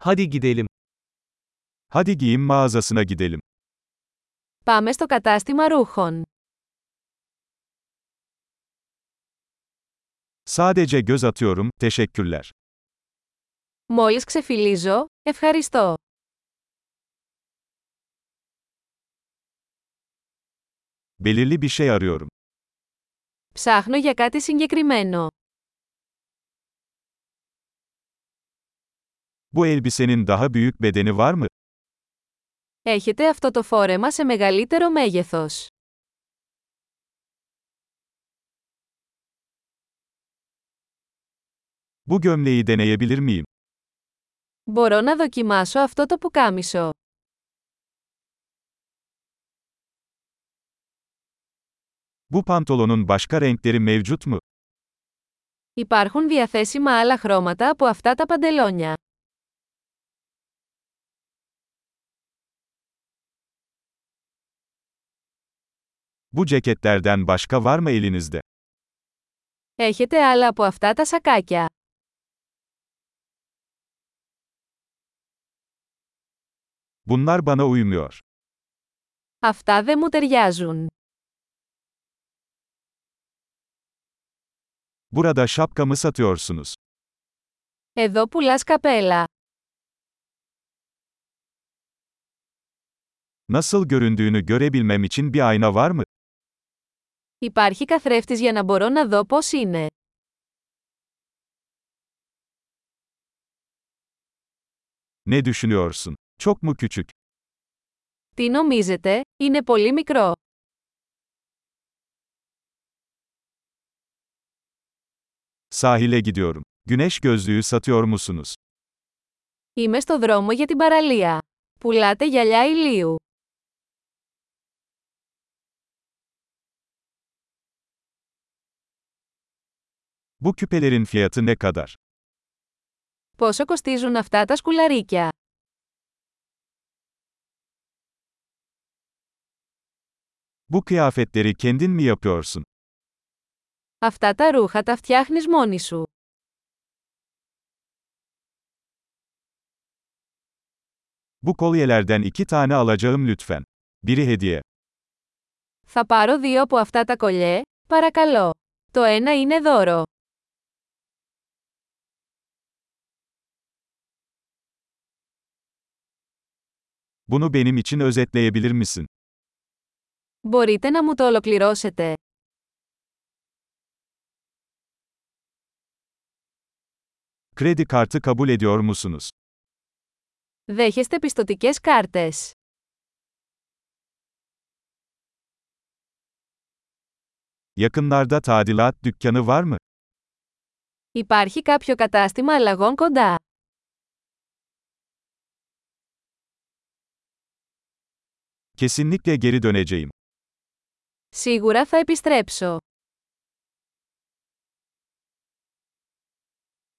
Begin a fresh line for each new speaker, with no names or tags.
Hadi gidelim. Hadi giyim mağazasına gidelim.
Πάμε στο κατάστημα ρούχων.
Sadece göz atıyorum, teşekkürler.
Μόλις ξεφυλίζω, ευχαριστώ.
Belirli bir şey arıyorum.
Ψάχνω για κάτι συγκεκριμένο.
Bu elbisenin daha büyük bedeni var mı?
Έχετε αυτό το φόρεμα σε μεγαλύτερο μέγεθος.
Bu gömleği deneyebilir miyim?
Μπορώ να δοκιμάσω αυτό το πουκάμισο.
Bu pantolonun başka renkleri mevcut mu?
Υπάρχουν διαθέσιμα άλλα χρώματα από αυτά τα παντελόνια.
Bu ceketlerden başka var mı elinizde?
Έχετε άλλα από αυτά τα σακάκια.
Bunlar bana uymuyor.
Αυτά δεν μου ταιριάζουν.
Burada şapkamı satıyorsunuz.
Εδώ πουλάς καπέλα.
Nasıl göründüğünü görebilmem için bir ayna var mı?
Υπάρχει καθρέφτης για να μπορώ να δω πώς είναι.
Ne düşünüyorsun? Çok mu küçük?
Τι νομίζετε, είναι πολύ μικρό.
Sahile gidiyorum. Güneş gözlüğü satıyor musunuz?
Είμαι στο δρόμο για την παραλία. Πουλάτε γυαλιά ηλίου.
Bu küpelerin fiyatı ne kadar?
Πόσο κοστίζουν αυτά τα σκουλαρίκια.
Bu kıyafetleri kendin mi yapıyorsun?
Αυτά τα ρούχα τα φτιάχνεις μόνη σου.
Bu kolyelerden iki tane alacağım lütfen. Biri hediye.
Θα πάρω δύο από αυτά τα κολλιέ, παρακαλώ. Το ένα είναι δώρο.
Bunu benim için özetleyebilir misin?
Μπορείτε να μου το ολοκληρώσετε.
Kredi kartı kabul ediyor musunuz?
Δέχεστε πιστοτικές κάρτες.
Yakınlarda tadilat dükkanı var mı?
Υπάρχει κάποιο κατάστημα αλλαγών κοντά.
Kesinlikle geri döneceğim.
Σίγουρα θα επιστρέψω.